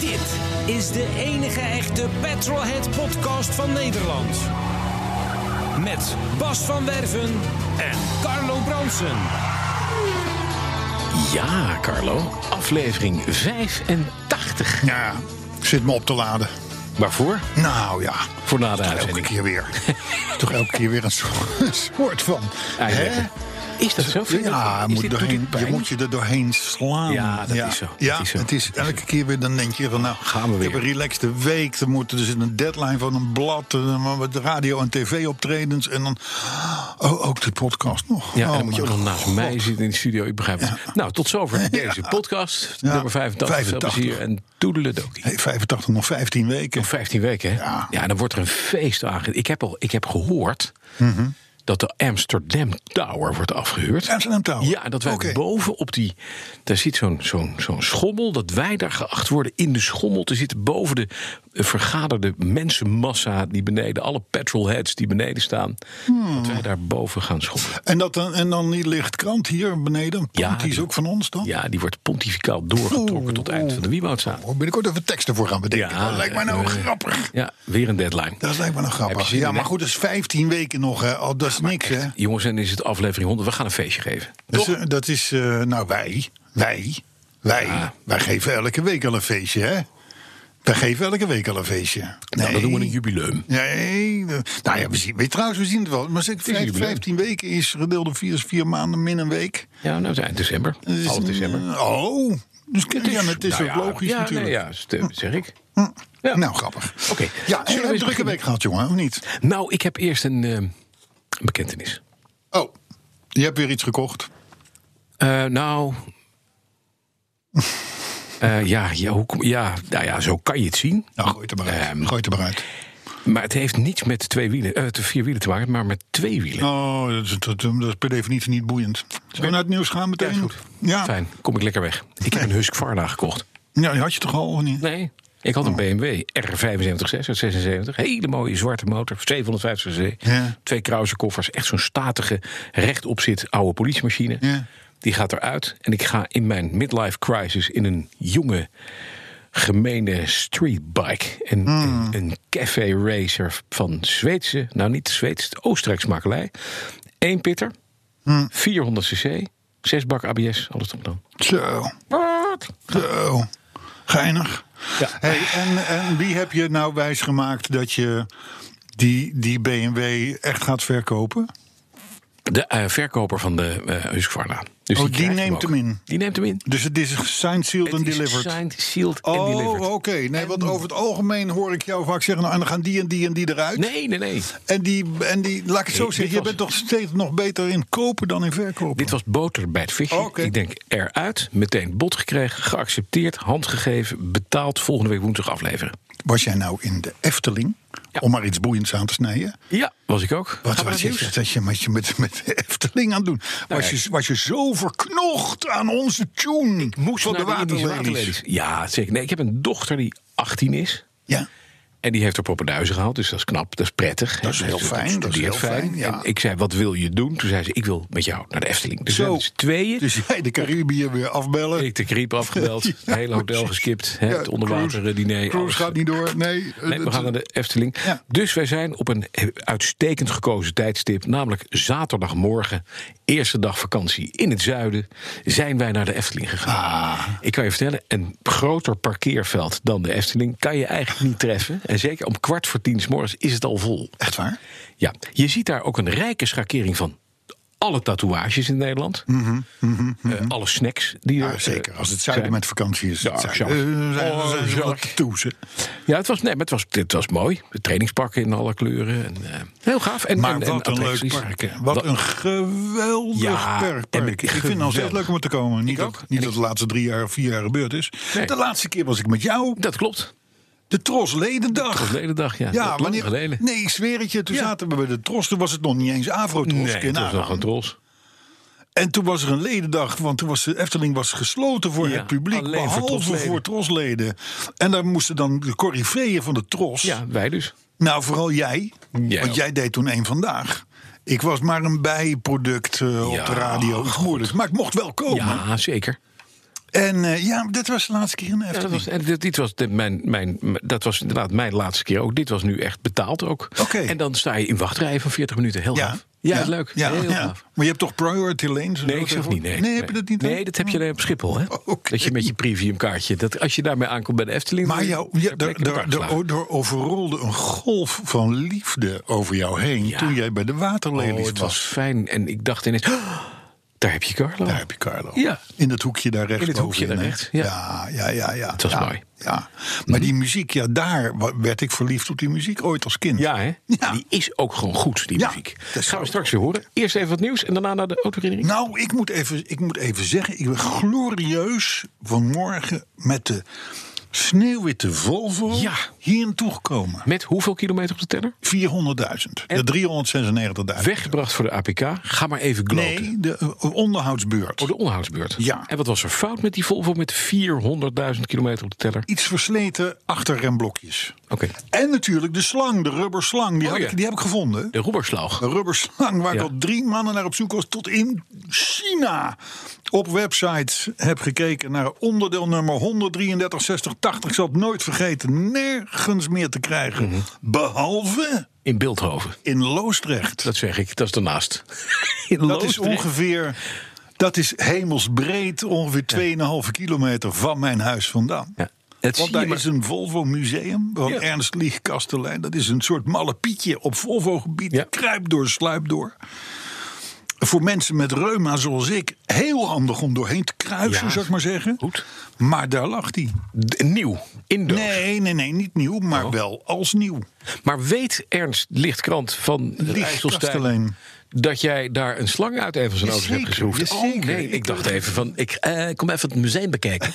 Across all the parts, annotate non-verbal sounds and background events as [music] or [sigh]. Dit is de enige echte Petrolhead podcast van Nederland. Met Bas van Werven en Carlo Bronsen. Ja, Carlo. Aflevering 85. Ja, ik zit me op te laden. Waarvoor? Nou ja, Voor na de toch elke uitzending. [laughs] keer weer. toch elke keer weer een soort, een soort van. Eigenlijk. hè? Is dat zo? Vind je dat- Ja, is moet dit- doet doorheen- dit pijn? je moet je er doorheen slaan. Ja, dat is zo. Dat Ja, is zo. het is elke keer weer, dan denk je van nou, Gaan we ik heb weer. een relaxte week. Er moet dus een deadline van een blad, eh, maar wat radio- en tv-optredens. En dan oh, ook de podcast nog. Ja, Oh, en dan moet je ook mijn nog naast God. mij zitten in de studio. Ik begrijp het. Nou, tot zover deze podcast. Ja. Nummer 85. Veel 85. plezier en toedeledokie. Hey, 85 nog 15 weken. Nog 15 weken, hè? Ja. dan wordt er een feest aangegeven. Ik heb, al, ik heb gehoord dat de Amsterdam Tower wordt afgehuurd. Mhm. Amsterdam Tower. Ja, dat wij nou Oh. Oké. boven op die... Daar zit zo'n zo'n zo'n schommel. Dat wij daar geacht worden in de schommel te zitten... boven de eh, vergaderde mensenmassa die beneden... alle petrolheads die beneden staan. Hmm. Dat wij daar boven gaan schommelen. En, dat dan, en dan die lichtkrant hier beneden. Ja, Ja, die is die- ook van ons dan. Ja, die wordt pontificaal doorgetrokken tot eind van de Wieboudzaal. Daar binnenkort even teksten voor gaan bedenken. dat lijkt mij nou eh, grappig. Ja, weer een deadline. Dat lijkt me nou Heb grappig. je zin Ja, in, maar hè? goed, dat is 15 weken nog. Hè. Al, dat is niks, hè? Jongens, en is het aflevering 100. We gaan een feestje geven. Dus, eh, dat is, eh, nou, wij. Wij. Wij. Ja. Wij geven elke week al een feestje, hè? Wij geven elke week al een feestje. Nou, dan doen we een Nee. jubileum. Nee, eh, nou ja, we zien, weet, je, trouwens, we zien het wel. Maar zeg, een vijf- jubileum. 15 weken is gedeeld door vier, is vier maanden min een week. Ja, nou, het is eind december. Dat is, Half december. eh, Oh, dus, ja, het is nou ook ja, logisch ja, natuurlijk. Nee, ja, st- zeg ik. Ja. Nou, grappig. Oké. Ja, Zullen we en eens een drukke beginnen? week gehad, jongen, of niet? Nou, ik heb eerst een eh, bekentenis. Oh, je hebt weer iets gekocht. Eh, [laughs] nou. Eh, ja, ja, hoe, kom- ja, nou ja, zo kan je het zien. Nou, gooi het er maar uit. Ehm. gooi het er maar uit. Maar het heeft niets met twee wielen, eh, te- vier wielen te maken, maar met twee wielen. Oh, dat is, dat, dat is per definitie niet boeiend. Zullen we naar het nieuws gaan meteen? Ja, is goed. Ja. Fijn, kom ik lekker weg. Ik heb een Husqvarna gekocht. Ja, die had je toch al, of niet? Nee, ik Oh. had een BMW R756 uit 76. Hele mooie zwarte motor, 750 cc. Ja. Twee Krauser-koffers, echt zo'n statige, rechtop zit oude politiemachine. Ja. Die gaat eruit en ik ga in mijn midlife crisis in een jonge, gemene streetbike. Een, Hmm. een, een café racer van Zweedse, nou niet Zweeds, Oostenrijks makelij. Eén pitter, Hmm. 400 cc, zes bak ABS, alles erop dan. Zo. Zo. Geinig. Ja. Hey, en, en wie heb je nou wijsgemaakt dat je die, die BMW echt gaat verkopen? De eh, verkoper van de eh Husqvarna. Dus Oh, die krijgt neemt hem in. Die neemt hem in. Dus het is signed, sealed en Het is delivered. signed, sealed en oh, delivered. oké. Nee, want over het algemeen hoor ik jou vaak zeggen... nou, en dan gaan die en die en die eruit. Nee, nee, nee. En, die, en die, laat ik het zo Dit zeggen, je was- bent toch steeds nog beter in kopen dan in verkopen? Dit was boter bij het visje. Oh, Oké. Ik denk eruit, meteen bot gekregen, geaccepteerd, handgegeven, betaald, volgende week woensdag afleveren. Was jij nou in de Efteling? Ja. Om maar iets boeiends aan te snijden. Ja, was ik ook. Wat Gaan we was naar het je, nieuws? Nou, dat je, wat je met, met de Efteling aan het doen? Was, kijk. je, was je zo verknocht aan onze tune? Ik Moest naar de Indische waterlelies. Ja, zeker. Nee, ik heb een dochter die 18 is. Ja. En die heeft haar poppenduizen gehaald, dus dat is knap, dat is prettig. Dat is En heel ze fijn, dat is studeert heel fijn, ja. En ik zei, wat wil je doen? Toen zei ze, ik wil met jou naar de Efteling. Dus Zo. we hebben z'n tweeën. Dus jij de Caribië weer afbellen. Ik de griep [laughs] afgebeld, het hele hotel geskipt, hè, Ja, het onderwater eh, cruise- diner. Cruise alles. gaat niet door. Nee, Nee, we dat- gaan naar de Efteling. Ja. Dus wij zijn op een uitstekend gekozen tijdstip, namelijk zaterdagmorgen, eerste dag vakantie in het zuiden, zijn wij naar de Efteling gegaan. Ah. Ik kan je vertellen, een groter parkeerveld dan de Efteling kan je eigenlijk niet treffen. En zeker om kwart voor tien 's morgens is het al vol. Echt waar? Ja, je ziet daar ook een rijke schakering van alle tatoeages in Nederland. Eh, alle snacks die er Mhm, Ja, zeker. eh, Als het zuiden zijn. met vakantie is. Ja, het zuiden, Jacques. eh, zijn- Oh, zijn ze wel Jacques. tattoos, hè. Ja, het was, nee, maar het was, het was mooi. De trainingspakken in alle kleuren. En, eh, heel gaaf. En, Maar en, wat en een leuk attracties. park. hè. Wat een geweldig Ja, park. en park. ik- Ik vind het nog steeds geweldig. leuk om er te komen. Niet, Ik ook. dat, niet dat de laatste drie jaar of vier jaar gebeurd is. Nee. De laatste keer was ik met jou. Dat klopt. De Tros Ledendag. Dat was de dag, ja. Dat ja, lang wanneer, geleden. nee, ik zweer het je. Toen Ja. zaten we bij de Tros. Toen was het nog niet eens Afro-Tros. Nee, Kun je het was nagaan. nog een trots. En toen was er een ledendag, want toen was de Efteling was gesloten voor Ja, het publiek, alleen voor behalve voor, trosleden. trosleden. En daar moesten dan de coryfeeën van de tros. Ja, wij dus. Nou, vooral jij, Ja. want jij deed toen één vandaag. Ik was maar een bijproduct eh, op Ja, de radio, iets moeilijks. Maar ik mocht wel komen. Ja, zeker. En eh, ja, dat was de laatste keer in de Ja, dat Efteling. was, en dit, dit was de- mijn, mijn, dat was inderdaad mijn laatste keer ook. Dit was nu echt betaald ook. Oké. En dan sta je in wachtrijen van 40 minuten. Heel gaaf. Ja, leuk. heel gaaf. Maar je hebt toch priority lanes? en Nee, zo ik zeg niet. Nee, Nee, heb je dat niet? Nee, dat heb je alleen op Schiphol. Hè? Oké. Dat je met je premiumkaartje, dat als je daarmee aankomt bij de Efteling... Maar dan- jou, dan ja, ben ik er, in elkaar er, er, geslagen. er overrolde een golf van liefde over jou heen Ja. toen jij bij de Oh, waterlelies het was was. fijn. En ik dacht ineens, "Oh, daar heb je Carlo. Daar heb je Carlo. Ja. In dat hoekje daar rechts. het hoekje bovenin, daar hè? rechts, ja. ja, ja, ja, ja. was ja, mooi. Ja. Maar die muziek, ja, daar wa- werd ik verliefd op die muziek ooit als kind. Ja, hè? Ja. Die is ook gewoon goed, die Ja, muziek. dat is Gaan we ook straks weer horen. Eerst even wat nieuws en daarna naar de autoherinnering. Nou, ik moet, even, ik moet even zeggen, ik ben glorieus vanmorgen met de sneeuwwitte Volvo Ja. hier naartoe gekomen. 400.000. Met hoeveel kilometer op de teller? En- De 396.000. Weggebracht voor de APK. Ga maar even gloten. Nee, de eh, onderhoudsbeurt. Oh, de onderhoudsbeurt. Ja. En wat was er fout met die Volvo met 400.000 kilometer op de teller? Iets versleten achterremblokjes. Oké. En natuurlijk de slang, de rubberslang. Die, Oh, had ja. ik, die heb ik gevonden. De roeberslaag. Een rubberslang waar Ja. ik al drie mannen naar op zoek was. Tot in China. Op websites heb gekeken naar onderdeel nummer 1336080. Ik zal het nooit vergeten. Nergens meer te krijgen. Behalve In Beeldhoven. in Loosdrecht. Dat zeg ik, dat is daarnaast. In [laughs] Dat is Loosdrecht. ongeveer... Dat is hemelsbreed ongeveer 2,5 kilometer van mijn huis vandaan. Ja. Het zie Want je daar maar- is een Volvo-museum van Ja. Ernst Lieg Kastelein. Dat is een soort malle pietje op Volvo-gebied. Ja. Kruip door, sluip door. Voor mensen met reuma zoals ik, heel handig om doorheen te kruisen, Ja. zou ik maar zeggen. Goed. Maar daar lag die. D- Nieuw. In doos. Nee, nee, nee, niet nieuw, Oh. maar wel als nieuw. Maar weet Ernst Lichtkrant van de Licht IJsselstein Kastelein. dat jij daar een slang uit een van zijn auto's hebt Jazeker, geschroefd? jazeker. Oh nee, ik dacht even van, ik eh, kom even het museum [laughs] bekijken.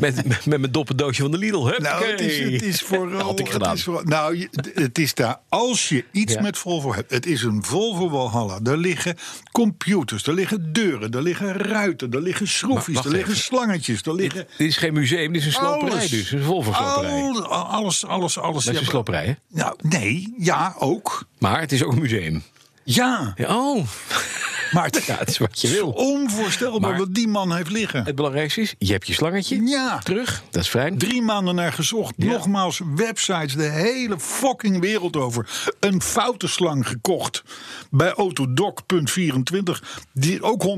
met, met, met mijn doppendoosje van de Lidl. Nou, het is, het is vooral. [laughs] Had ik Het gedaan. is vooral- nou, je- d- het is daar. Als je iets Ja. met Volvo hebt. Het is een Volvo Walhalla. Daar liggen computers. Daar liggen deuren. Daar liggen ruiten. Daar liggen schroefjes. wacht Daar liggen even. slangetjes. Daar liggen. Dit is geen museum, dit is een Oh, sloperij alles. dus. Een Volvo-sloperij. Al- Alles, alles, alles. Dat is een Ja, sloperij, hè? Nou, nee. Ja, ook. Maar het is ook een museum. Ja. Ja, Oh, [laughs] Maar het, ja, het is wat je wil. onvoorstelbaar Maar- wat die man heeft liggen. Het belangrijkste is, je hebt je slangetje Ja. terug. Dat is fijn. Drie maanden naar gezocht. Ja. Nogmaals, websites de hele fucking wereld over. Een foutenslang gekocht bij autodoc.24. Die ook 133,60,80.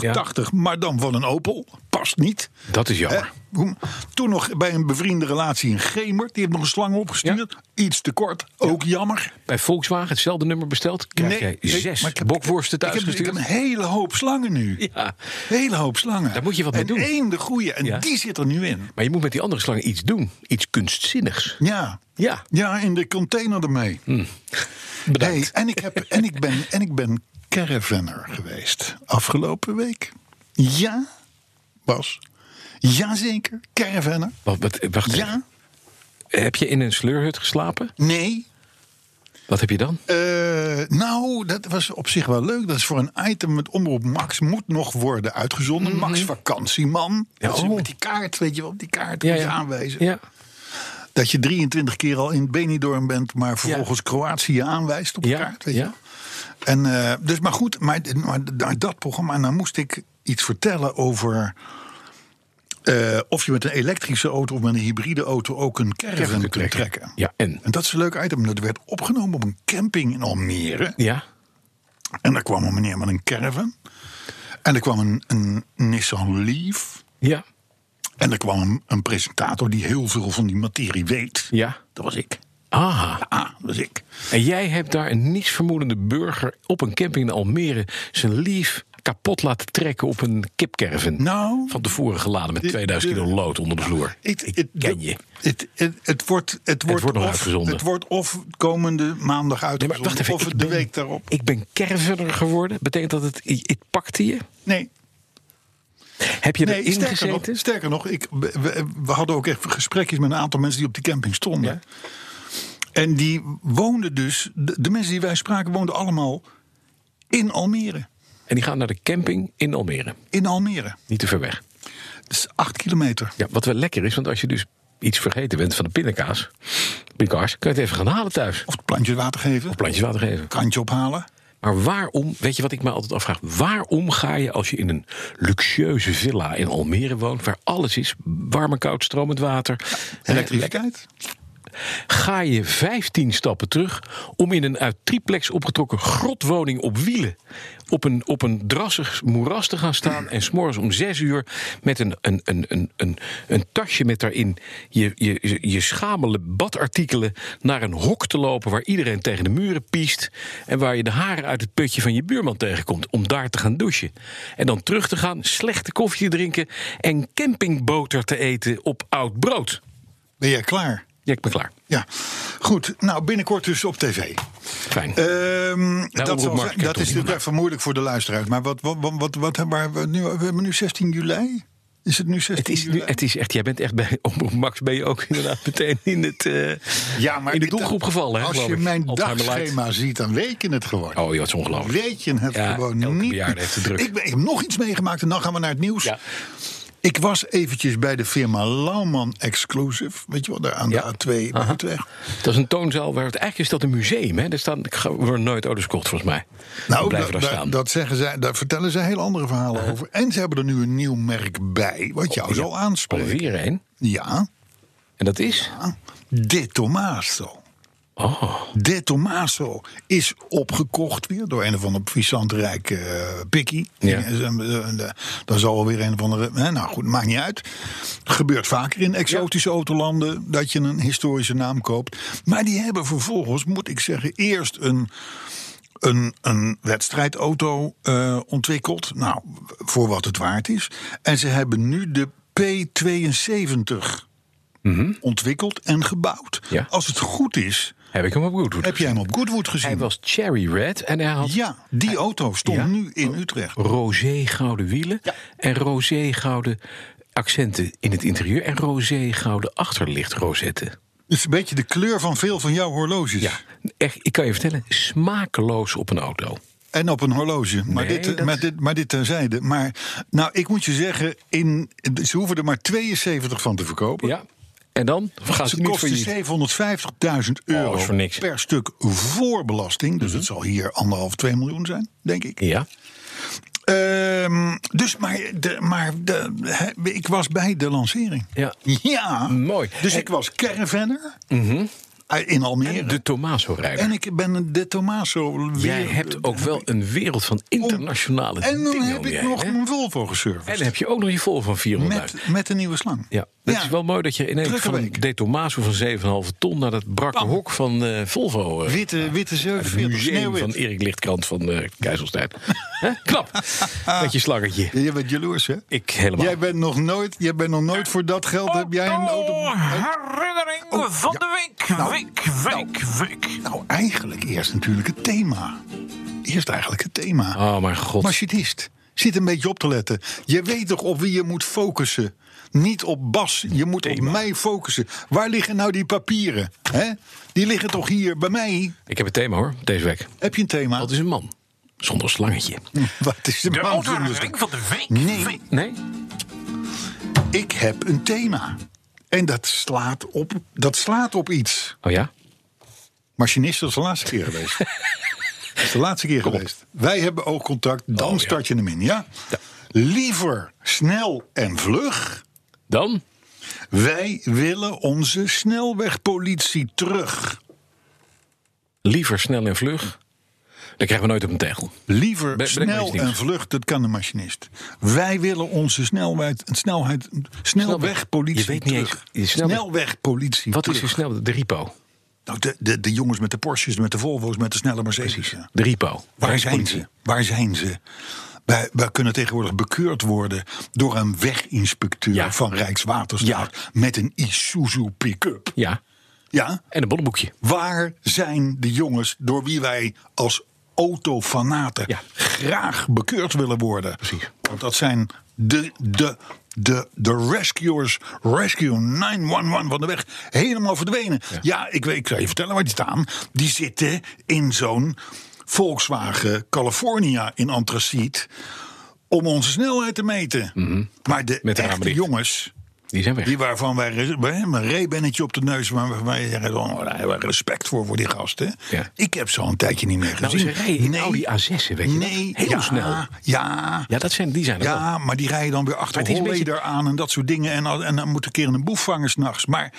Ja. Maar dan van een Opel. Past niet. Dat is jammer. Hè? Hoe- Toen nog bij een bevriende relatie in Gemer. Die heeft nog een slang opgestuurd. Iets te kort. Ook jammer. Bij Volkswagen hetzelfde nummer besteld. Krijg Nee, jij ik- zes maar ik heb- bokworsten Ik heb, thuis ik heb gestuurd. een hele hoop slangen nu. Ja. Hele hoop slangen. Daar moet je wat en mee doen. één de goede. En Ja. die zit er nu in. Maar je moet met die andere slangen iets doen. Iets kunstzinnigs. Ja. Ja, Ja, in de container ermee. bedankt. Hey, en, ik heb, en, ik ben, en ik ben caravanner geweest afgelopen week. Ja, Bas. Jazeker, caravanner. Wat, wat, wacht Ja, even. Heb je in een sleurhut geslapen? nee. Wat heb je dan? Eh, nou, dat was op zich wel leuk. Dat is voor een item met omroep Max moet nog worden uitgezonden. Max vakantieman. Mhm. Ja, Dat is oh. met die kaart, weet je wel, op die kaart is aanwijzen. Ja. Dat je 23 keer al in Benidorm bent, maar vervolgens Kroatië aanwijst op de Ja, kaart. Weet je ja. wel. En, eh, dus, maar goed, maar, maar, maar dat programma, en dan moest ik iets vertellen over. eh, of je met een elektrische auto of met een hybride auto ook een caravan kunt trekken. Ja, en? En dat is een leuk item. Dat werd opgenomen op een camping in Almere. Ja. En daar kwam een meneer met een caravan. En er kwam een, een Nissan Leaf. Ja. En er kwam een, een presentator die heel veel van die materie weet. Ja. Dat was ik. Aha. Ah, dat was ik. En jij hebt daar een nietsvermoedende burger op een camping in Almere zijn lief kapot laten trekken op een kipkerven. Nou. Van tevoren geladen met Dit- 2000 kilo dit- lood onder de vloer. Het, Ik ken je. Het, het, het wordt, het wordt, wordt nog of, uitgezonden. Het wordt of komende maandag Nee, maar uitgezonden, wacht even. of ik de ben- week daarop. Ik ben kervener geworden. Betekent dat het, het pakte je? nee, Heb je nee erin sterker, nog, gezeten? sterker nog, ik, we, we- we hadden ook echt gesprekjes met een aantal mensen die op die camping stonden. En die woonden dus, de, de mensen die wij spraken woonden allemaal in Almere. En die gaan naar de camping in Almere. In Almere. Niet te ver weg. Dat is acht kilometer. Ja, wat wel lekker is, want als je dus iets vergeten bent van de pindakaas, pindakaas, kun je het even gaan halen thuis. Of het plantje water geven, Plantjes water geven. krantje ophalen. Maar waarom, weet je wat ik me altijd afvraag? Waarom ga je als je in een luxueuze villa in Almere woont, waar alles is, warm en koud, stromend water, Elektriciteit. ga je 15 stappen terug om in een uit triplex opgetrokken grotwoning op wielen op een, op een drassig moeras te gaan staan en s'morgens om 6 uur met een, een, een, een, een, een tasje met daarin je, je, je schamele badartikelen naar een hok te lopen waar iedereen tegen de muren piest en waar je de haren uit het putje van je buurman tegenkomt om daar te gaan douchen. En dan terug te gaan, slechte koffie te drinken en campingboter te eten op oud brood. Ben jij klaar? Ja, ik ben klaar. Ja, goed. Nou, binnenkort dus op tv. Fijn. Ehm, Omroep dat zal Markt zijn- dat toch is niet? natuurlijk even moeilijk voor de luisteraars. Maar wat, wat, wat, wat, wat hebben we nu? We hebben nu 16 juli. Is het nu 16 Het is, juli? nu, het is echt, jij bent echt bij [laughs] Omroep Max, ben je ook inderdaad meteen in, het, eh, in de ik- doelgroep gevallen. Hè, Als geloof je ik. mijn Alzheimer Light. dagschema ziet, dan weet je het gewoon. Oh joh, het is ongelooflijk. Weet je het Ja, gewoon elke niet. bejaarde heeft het druk. Ik, ben- ik heb nog iets meegemaakt en dan gaan we naar het nieuws. Ja. Ik was eventjes bij de firma Lauwman Exclusive. Weet je wel, daar aan Ja. de A2 bij Utrecht. Dat is een toonzaal waar het eigenlijk is dat een museum. Hè? Daar staan, ik ga, worden nooit auto's gekocht volgens mij. Die da- blijven daar da- staan. Nou, Dat zeggen zij, daar vertellen ze heel andere verhalen over. En ze hebben er nu een nieuw merk bij, wat Oh, jou zal aanspreken. Alweer een. Ja, En dat is? De Tomaso. Oh, De Tomaso is opgekocht weer door een of andere puissant rijke eh, pikkie. Ja. Eh, eh, eh, Dan zal weer een of andere. Hè, nou goed, maakt niet uit. Gebeurt vaker in exotische autolanden dat je een historische naam koopt. Maar die hebben vervolgens, moet ik zeggen, eerst een. Een, een wedstrijdauto eh, ontwikkeld. Nou, voor wat het waard is. En ze hebben nu de P72 ontwikkeld en gebouwd. Mhm. Ja. Als het goed is, heb ik hem op Goodwood heb gezien? jij hem op Goodwood Hij gezien? was cherry red en hij had ja, die auto stond Ja? Oh. nu in Utrecht. roze gouden wielen en roze gouden accenten in het interieur en roze gouden achterlichtrozetten. Het is een beetje de kleur van veel van jouw horloges. Ja, echt, ik kan je vertellen, smakeloos op een auto. En op een horloge. Maar, Nee, dit, dat- maar, dit, maar dit tenzijde. Maar nou, ik moet je zeggen, in, ze hoeven er maar 72 van te verkopen. Ja. En dan gaat het Ze niet voor kosten je. 750.000 euro Oh, is voor niks. Mhm. per stuk voor belasting. Dus het zal hier anderhalf, 2 miljoen zijn, denk ik. Ja. Ehm, dus, maar, de, maar de, he- ik was bij de lancering. Ja. Ja. Mooi. Dus En- Mhm. ik was caravanner uit- in Almere. En, De Tomaso-rijder. ik ben de Tomaso. weer- Jij hebt ook wel een wereld van internationale En dan dingen heb om je ik heen, nog hè? mijn Volvo En gesurfaced. dan heb je ook nog je vol van 400.000. met, met een nieuwe slang. Ja, dat is wel mooi dat je ineens Drukke van week. De Tomaso van 7,5 ton naar dat brakke Bam. hok van eh, Volvo. eh, Witte, witte het 47 museum sneeuwwit. van Erik Lichtkrant van eh [laughs] Keizelstijd. Hè? Knap. Met je slangetje. Ja, je bent jaloers, hè? Ik helemaal. Oh, Jij bent nog nooit, jij bent nog nooit voor dat geld. heb jij een auto. herinnering van de week. Week, week, week. Nou, eigenlijk eerst natuurlijk het thema. Eerst eigenlijk het thema. Oh, mijn god. Machinist, zit een beetje op te letten. Je weet toch op wie je moet focussen? Niet op Bas, je moet op mij focussen. Waar liggen nou die papieren? hè? Die liggen toch hier bij mij? Ik heb een thema hoor, deze week. Heb je een thema? Dat is een man. Zonder slangetje. [laughs] Wat is de, De man van de- autoherinnering van de week. Nee, Nee? ik heb een thema. En dat slaat op, dat slaat op iets. Oh ja? Machinist, dat is de laatste keer geweest. dat is de laatste keer geweest. Wij hebben ook contact, dan ja. start je hem in, ja? Ja. Liever snel en vlug. Dan? Wij willen onze snelwegpolitie terug. Liever snel en vlug. Dan krijgen we nooit op een tegel. Liever Ben- breng maar iets snel nieuws. en vlug, dat kan de machinist. Wij willen onze snelheid, snelheid, snelwegpolitie Je weet niet eens- terug. je snelweg- snelwegpolitie Wat terug. is zo snel? De repo. Nou, de, de, de jongens met de Porsches, met de Volvo's, met de snelle Mercedes. ja. De repo. Waar zijn ze? Waar zijn ze? Wij, wij kunnen tegenwoordig bekeurd worden door een weginspecteur Ja. van Rijkswaterstaat met een Isuzu pick-up. Ja, Ja? en een bolleboekje. Waar zijn de jongens door wie wij als autofanaten Ja. graag bekeurd willen worden? Precies. Want dat zijn de, de, de, de rescuers, Rescue 911 van de weg, helemaal verdwenen. Ja, ik, weet, ik zal je vertellen waar die staan. Die zitten in zo'n Volkswagen California in antraciet om onze snelheid te meten. Maar de Mhm. Met de ramen echte dicht. jongens... Die zijn weg. Die waarvan wij, res- wij hebben een reebennetje op de neus, maar wij zeggen, oh, daar hebben we respect voor, voor die gasten. Ja. Ik heb ze al een tijdje niet meer nou, gezien. ze rijden in Audi A6, weet je nee, dat? Heel ja, snel. Ja, Ja, dat zijn, die zijn er wel. ja, maar die rijden dan weer Maar achter het is een holleder aan en dat soort dingen. En, al- en dan moet een keer een boef vangen s'nachts. Maar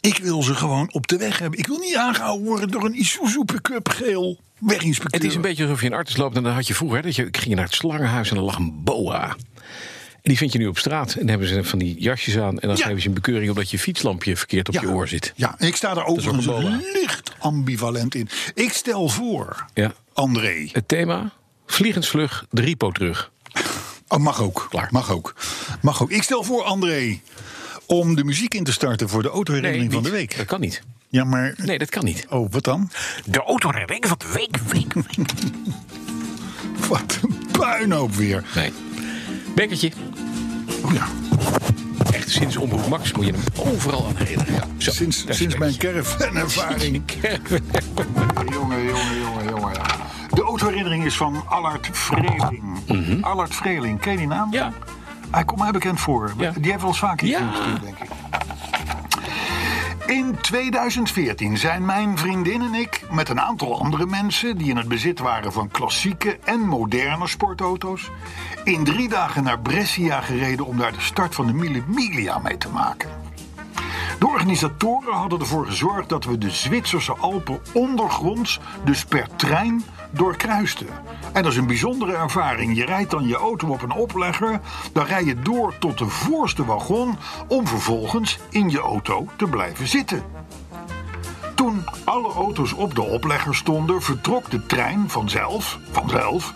ik wil ze gewoon op de weg hebben. Ik wil niet aangehouden worden door een Isuzu pick-up geel weginspecteur. Het is een beetje alsof je in Artis loopt en dan had je vroeger... Hè, dat je, ik ging naar het slangenhuis en er lag een boa. En die vind je nu op straat en dan hebben ze van die jasjes aan... en dan Ja. geven ze een bekeuring omdat je fietslampje verkeerd op je oor zit. Ja, en ik sta daar is ook overigens een boa. licht ambivalent in. Ik stel voor, Ja. André... Het thema, vliegensvlug, de repo terug. Oh, mag ook. Klaar. Mag ook. Mag ook. Ik stel voor, André, om de muziek in te starten voor de autoherinnering van de niet. week. Dat kan niet. Ja, maar. Nee, dat kan niet. Oh, wat dan? De autoremming van de week, week, week. [laughs] Wat een puinhoop weer. Nee. Bekkertje. Oh ja, Echt, sinds Omroep Max moet je hem overal aan herinneren. Ja. Zo, sinds, daar is sinds een mijn caravan-ervaring. beetje. [laughs] jongen, jongen, jongen, jongen. Ja. De autoherinnering is van Allard Vreeling. Allard Vreeling, ken je die naam? Mhm. Ja. Hij komt mij bekend voor. Ja. Die heeft wel eens vaker Ja. iets gestuurd, denk ik. In 2014 zijn mijn vriendin en ik met een aantal andere mensen die in het bezit waren van klassieke en moderne sportauto's in drie dagen naar Brescia gereden om daar de start van de Mille Miglia mee te maken. De organisatoren hadden ervoor gezorgd dat we de Zwitserse Alpen ondergronds, dus per trein, doorkruisten. En dat is een bijzondere ervaring. Je rijdt dan je auto op een oplegger, dan rij je door tot de voorste wagon om vervolgens in je auto te blijven zitten. Toen alle auto's op de oplegger stonden, vertrok de trein vanzelf, vanzelf.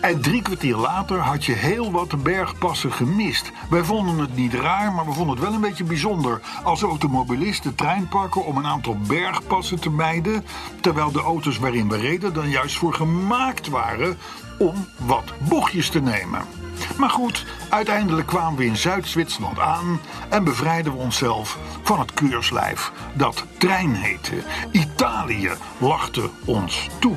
En drie kwartier later had je heel wat bergpassen gemist. Wij vonden het niet raar, maar we vonden het wel een beetje bijzonder als automobilisten de trein pakken om een aantal bergpassen te mijden, terwijl de auto's waarin we reden dan juist voor gemaakt waren om wat bochtjes te nemen. Maar goed, uiteindelijk kwamen we in Zuid-Zwitserland aan en bevrijden we onszelf van het keurslijf dat trein heette. Italië lachte ons toe.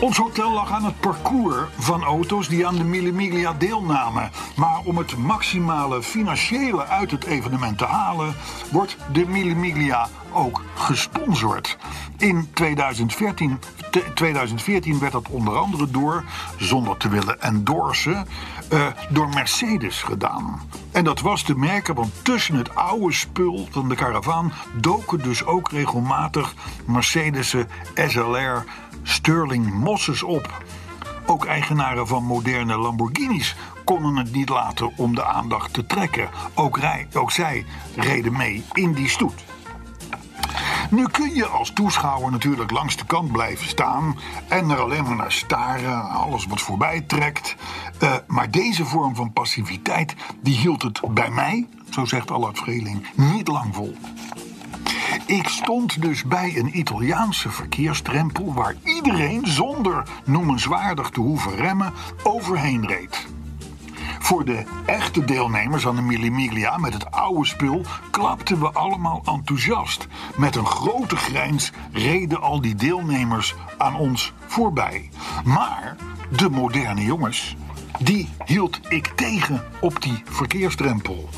Ons hotel lag aan het parcours van auto's die aan de Mille Miglia deelnamen. Maar om het maximale financiële uit het evenement te halen, wordt de Mille Miglia ook gesponsord. In 2014, te- 2014 werd dat onder andere door, zonder te willen endorsen, eh, door Mercedes gedaan. En dat was te merken, want tussen het oude spul van de karavaan doken dus ook regelmatig Mercedes'en SLR Sterling Mosses op. Ook eigenaren van moderne Lamborghinis konden het niet laten om de aandacht te trekken. Ook, rij, ook zij reden mee in die stoet. Nu kun je als toeschouwer natuurlijk langs de kant blijven staan en er alleen maar naar staren, aan alles wat voorbij trekt. Eh, maar deze vorm van passiviteit, die hield het bij mij, zo zegt Allard Vreeling, niet lang vol. Ik stond dus bij een Italiaanse verkeerstrempel waar iedereen zonder noemenswaardig te hoeven remmen overheen reed. Voor de echte deelnemers aan de Mille Miglia met het oude spul klapten we allemaal enthousiast. Met een grote grijns reden al die deelnemers aan ons voorbij. Maar de moderne jongens, die hield ik tegen op die verkeersdrempel.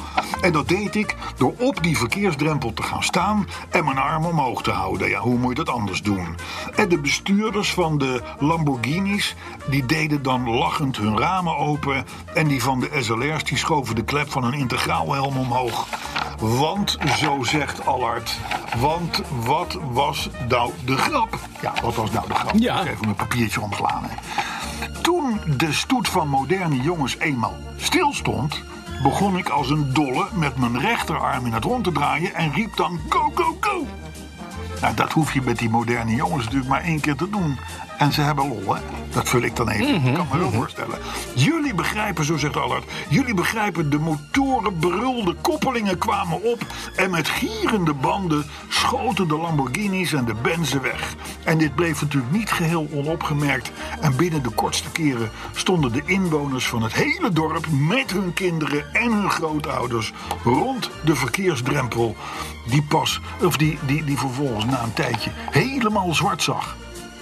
En dat deed ik door op die verkeersdrempel te gaan staan en mijn arm omhoog te houden. Ja, hoe moet je dat anders doen? En de bestuurders van de Lamborghinis die deden dan lachend hun ramen open en die van de SLR's die schoven de klep van een integraalhelm omhoog. Want, zo zegt Allard, want wat was nou de grap? Ja, wat was nou de grap? Ja. Moet ik Even mijn papiertje omslaan. hè. Toen de stoet van moderne jongens eenmaal stilstond, begon ik als een dolle met mijn rechterarm in het rond te draaien en riep dan: Go, go, go! Nou, dat hoef je met die moderne jongens natuurlijk maar één keer te doen. En ze hebben lol, hè? Dat vul ik dan even. Ik kan me wel voorstellen. Jullie begrijpen, zo zegt Allard. Jullie begrijpen, de motoren brulden, koppelingen kwamen op. En met gierende banden schoten de Lamborghinis en de Benzen weg. En dit bleef natuurlijk niet geheel onopgemerkt. En binnen de kortste keren stonden de inwoners van het hele dorp met hun kinderen en hun grootouders rond de verkeersdrempel. Die pas, of die, die, die vervolgens na een tijdje helemaal zwart zag.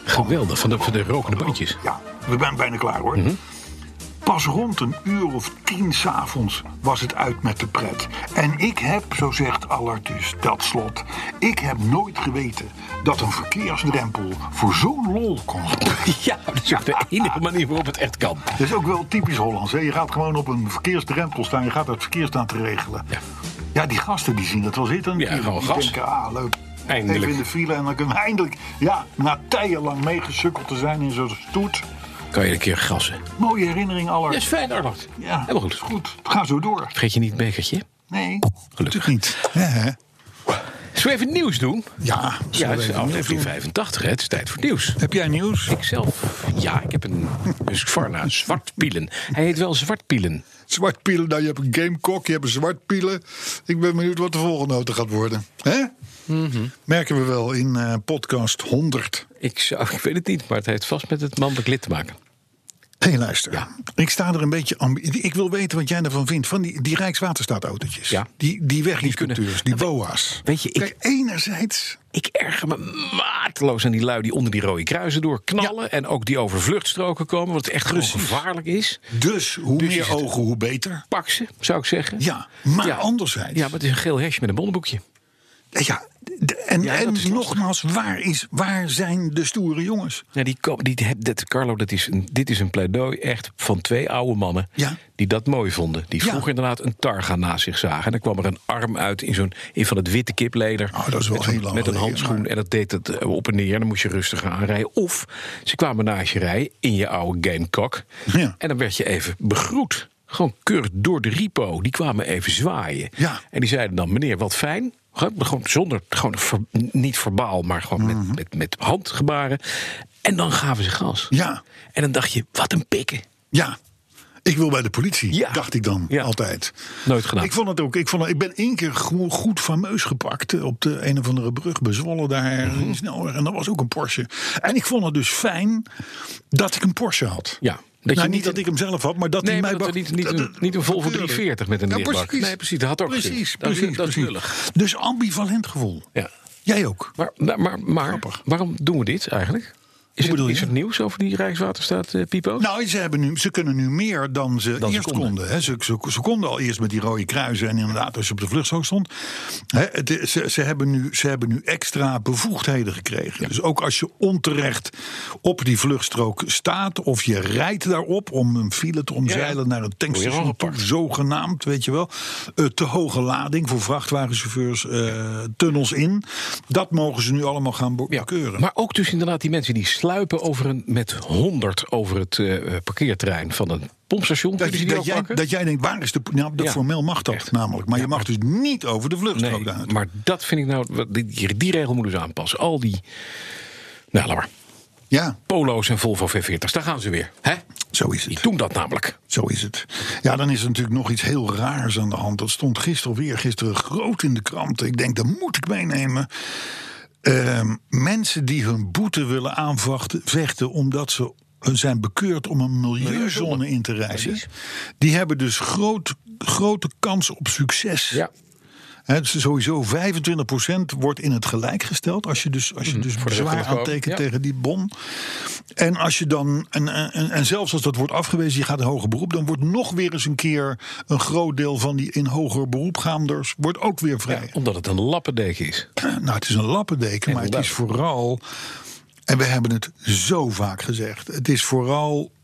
Geweldig, van de, van de rokende bandjes. [laughs] Ja, we zijn bijna klaar hoor. Mhm. Pas rond een uur of tien s'avonds was het uit met de pret. En ik heb, zo zegt Allard dus, dat slot. Ik heb nooit geweten dat een verkeersdrempel voor zo'n lol kon zorgen. Ja, dat is ook de enige manier waarop het echt kan. Dat is ook wel typisch Hollands. Hè? Je gaat gewoon op een verkeersdrempel staan. Je gaat het verkeer staan te regelen. Ja, die gasten die zien dat wel zitten. Ja, gewoon die gas. denken, ah leuk. Eindelijk. Even in de file en dan kunnen we eindelijk... Ja, na tijdenlang meegesukkeld te zijn in zo'n stoet. Kan je een keer gassen. Mooie herinnering, Allard. Ja, is fijn, Arnold. Ja, Helemaal goed. is goed. Ga zo door. Vergeet je niet het bekertje. Nee. Gelukkig. Niet. Ja, hè? Zullen we even nieuws doen? ja, Ja, het is zullen we even aflevering doen? 85, hè? Het is tijd voor nieuws. Heb jij nieuws? Ik zelf, ja, ik heb een Husqvarna, zwartpielen. Hij heet wel zwartpielen. Zwartpielen, nou je hebt een Gamecock, je hebt een zwartpielen. Ik ben benieuwd wat de volgende auto gaat worden. Hè? Mhm. Merken we wel in eh, podcast 100. Ik, zou, ik weet het niet, maar het heeft vast met het mannelijk lid te maken. Hé, hey, luister. Ik sta er een beetje... ambi- Ik wil weten wat jij ervan vindt. Van die, die Rijkswaterstaatautootjes. Ja. Die, die weginspecteurs, die kunnen- BOA's. Weet je, ik- Kijk, enerzijds... Ik erger me mateloos aan die lui die onder die rode kruisen door knallen. En ook die over vluchtstroken komen, wat echt gewoon Precies. gevaarlijk is. Dus hoe Dus is meer het- ogen, hoe beter. Pak ze, zou ik zeggen. Ja, maar Ja. anderzijds... Ja, maar het is een geel hesje met een bonnenboekje. Ja, de- en, Ja, dat is lastig. en nogmaals, waar, is, waar zijn de stoere jongens? Ja, die, ko- die, heb- dat, Carlo, dat is een, dit is een pleidooi echt van twee oude mannen Ja. die dat mooi vonden. Die Ja. vroeger inderdaad een targa naast zich zagen. En dan kwam er een arm uit in, zo'n, in van het witte kipleder. Oh, dat is wel met, zo'n- heel lang Met een geleden, handschoen. maar- En dat deed het eh, op en neer. Dan moest je rustig aanrijden. Of ze kwamen naast je rijden in je oude gamecock. Ja. En dan werd je even begroet. Gewoon keurig door de repo. Die kwamen even zwaaien. Ja. En die zeiden dan, meneer, wat fijn. Gewoon zonder, gewoon ver- niet verbaal, maar gewoon Mhm. met, met, met handgebaren. En dan gaven ze gas. Ja. En dan dacht je, wat een pikken. Ja, ik wil bij de politie, Ja. dacht ik dan Ja. altijd. Nooit gedaan. Ik vond het ook. Ik, vond het- ik ben één keer gewoon goed fameus gepakt eh, op de een of andere brug bezwollen daar Mhm. ergens in de snelweg. En dat was ook een Porsche. En ik vond het dus fijn dat ik een Porsche had. Ja, dat nou, je niet niet- dat ik hem zelf had, maar dat Nee, hij mij maar dat bak- er niet, niet, een, niet een Volvo 340 met een Ja, lichtbak. Nee, precies. Dat had ook precies, gekund. Dat is- precies, dat is precies. lullig. Dus ambivalent gevoel. Ja. Jij ook. Maar, maar, maar, maar waarom doen we dit eigenlijk? Is, het, bedoel is je? er nieuws over die Rijkswaterstaat, eh, Pipo? Nou, ze, hebben nu, ze kunnen nu meer dan ze Dan ze eerst konden. konden. hè. Ze, ze, ze konden al eerst met die rode kruisen. En inderdaad, als je op de vluchtstrook stond. Hè, het is- ze, ze, hebben nu, ze hebben nu extra bevoegdheden gekregen. Dus ook als je onterecht op die vluchtstrook staat. of je rijdt daarop om een file te omzeilen naar een Word je nou, tankstation. toe, aangepakt. Zogenaamd, weet je wel. Eh, te hoge lading voor vrachtwagenchauffeurs. eh, tunnels in. Dat mogen ze nu allemaal gaan be- Ja, bekeuren. Maar ook dus inderdaad die mensen die sluipen over een, met 100 over het eh, parkeerterrein van een pompstation. Dat, Kunnen ze je- die dat, ook jij, pakken? dat jij denkt, waar is de. Nou, dat Ja, formeel mag dat echt. namelijk. Maar je mag dus niet over de vluchtstrook daar nee, naartoe. maar dat vind ik nou, wat- die, die regel moeten ze aanpassen. Al die, nou laat maar, Ja, polo's en Volvo V40's, daar gaan ze weer. Hè? zo is Die het. doen dat namelijk. Zo is het. Ja, dan is er natuurlijk nog iets heel raars aan de hand. Dat stond gisteren of eergisteren groot in de krant. Ik denk, dat moet ik meenemen. Ehm, mensen die hun boete willen aanvachten, vechten omdat ze zijn bekeurd om een milieuzone in te reizen. Die hebben dus groot, grote kans op succes. Ja, Hè, dus sowieso 25% wordt in het gelijk gesteld. Als je dus, als je dus Mhm, voor de bezwaar rechter mag aantekent komen, ja. tegen die bon. En, als je dan, en, en, en- en zelfs als dat wordt afgewezen, je gaat in hoger beroep. Dan wordt nog weer eens een keer een groot deel van die in hoger beroepgaanders wordt ook weer vrij. omdat het een lappendeken is. [clears throat] Nou, het is een lappendeken, maar het is vooral. En we hebben het zo vaak gezegd. Het is vooral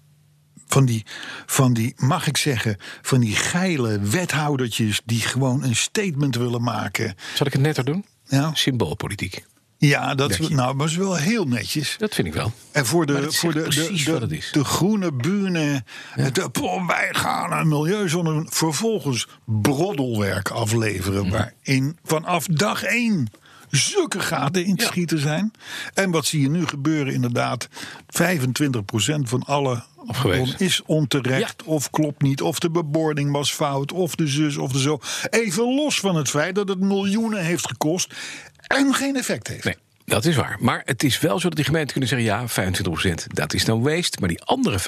van die, van die, mag ik zeggen, van die geile wethoudertjes die gewoon een statement willen maken. Zal ik het netter doen? Ja. Symboolpolitiek. Ja, dat, Dank je. nou, maar is wel heel netjes. Dat vind ik wel. En voor Maar de, dat voor de, zegt precies de, de, wat het is. de groene bühne. De, "Pom, wij gaan een milieuzone. doen." Vervolgens broddelwerk afleveren. Waarin vanaf dag één zulke gaten in te schieten zijn. En wat zie je nu gebeuren inderdaad? 25% van alle Afgewezen. bron is onterecht of klopt niet. Of de bebording was fout of de zus of de zo. Even los van het feit dat het miljoenen heeft gekost en geen effect heeft. Nee, dat is waar. Maar het is wel zo dat die gemeenten kunnen zeggen... ja, 25% dat is dan waste. Maar die andere 25%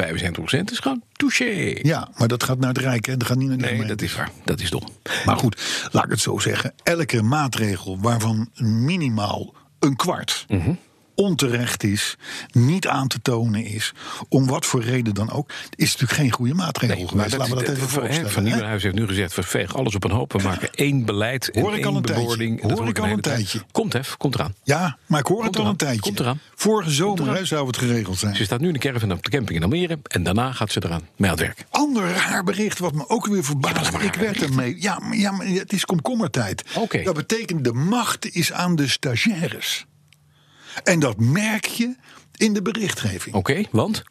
is gewoon touché. Ja, maar dat gaat naar het Rijk, hè? Dat gaat niet naar de nee, gemeente. dat is waar. Dat is dom. Maar goed, laat ik het zo zeggen. Elke maatregel waarvan minimaal een kwart Mhm. onterecht is, niet aan te tonen is, om wat voor reden dan ook, is natuurlijk geen goede maatregel Nee, geweest. Laten we dat, even van- hè, voorstellen. Van hè? Nieuwenhuis heeft nu gezegd, we vegen alles op een hoop. We maken één beleid en Hoor ik al één een tijdje. bewoording. En dat Hoor ik al hele een tijd. tijdje. Komt, hef, komt eraan. Ja, maar ik hoor Komt het al eraan, een tijdje. komt eraan. Vorige zomer hè, zou het geregeld zijn. Ze staat nu in de caravan op de camping in Almere. En daarna gaat ze eraan mee aan het werk. Ander raar bericht, wat me ook weer verbaast. ik werd ermee. Ja, maar- ja, maar het is komkommertijd. Oké. Dat betekent de macht is aan de stagiaires. En dat merk je in de berichtgeving. Oké, want?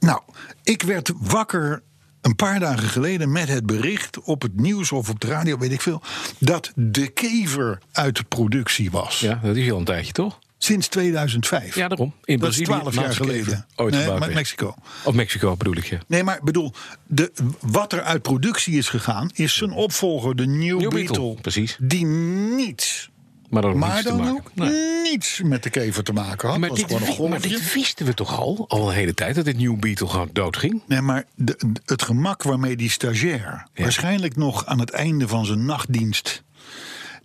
Nou, ik werd wakker een paar dagen geleden met het bericht op het nieuws of op de radio, weet ik veel, dat de kever uit productie was. Ja, dat is al een tijdje, toch? Sinds 2005. Ja, daarom. In dat is Brazilië, 12 jaar naast de kever geleden. Ooit nee, gebouwd met werd. Mexico. Of Mexico bedoel ik, ja. Nee, maar ik bedoel, de, wat er uit productie is gegaan, is zijn opvolger, de New, New Beetle, Beetle, precies. Die niets, Maar dat maar niets te dan maken. ook Nee. niets met de kever te maken had. Maar was dit, gewoon een wi- maar golfje. dit wisten we toch al, al een hele tijd, dat dit New Beetle gewoon doodging? Nee, maar de, de- het gemak waarmee die stagiair waarschijnlijk nog aan het einde van zijn nachtdienst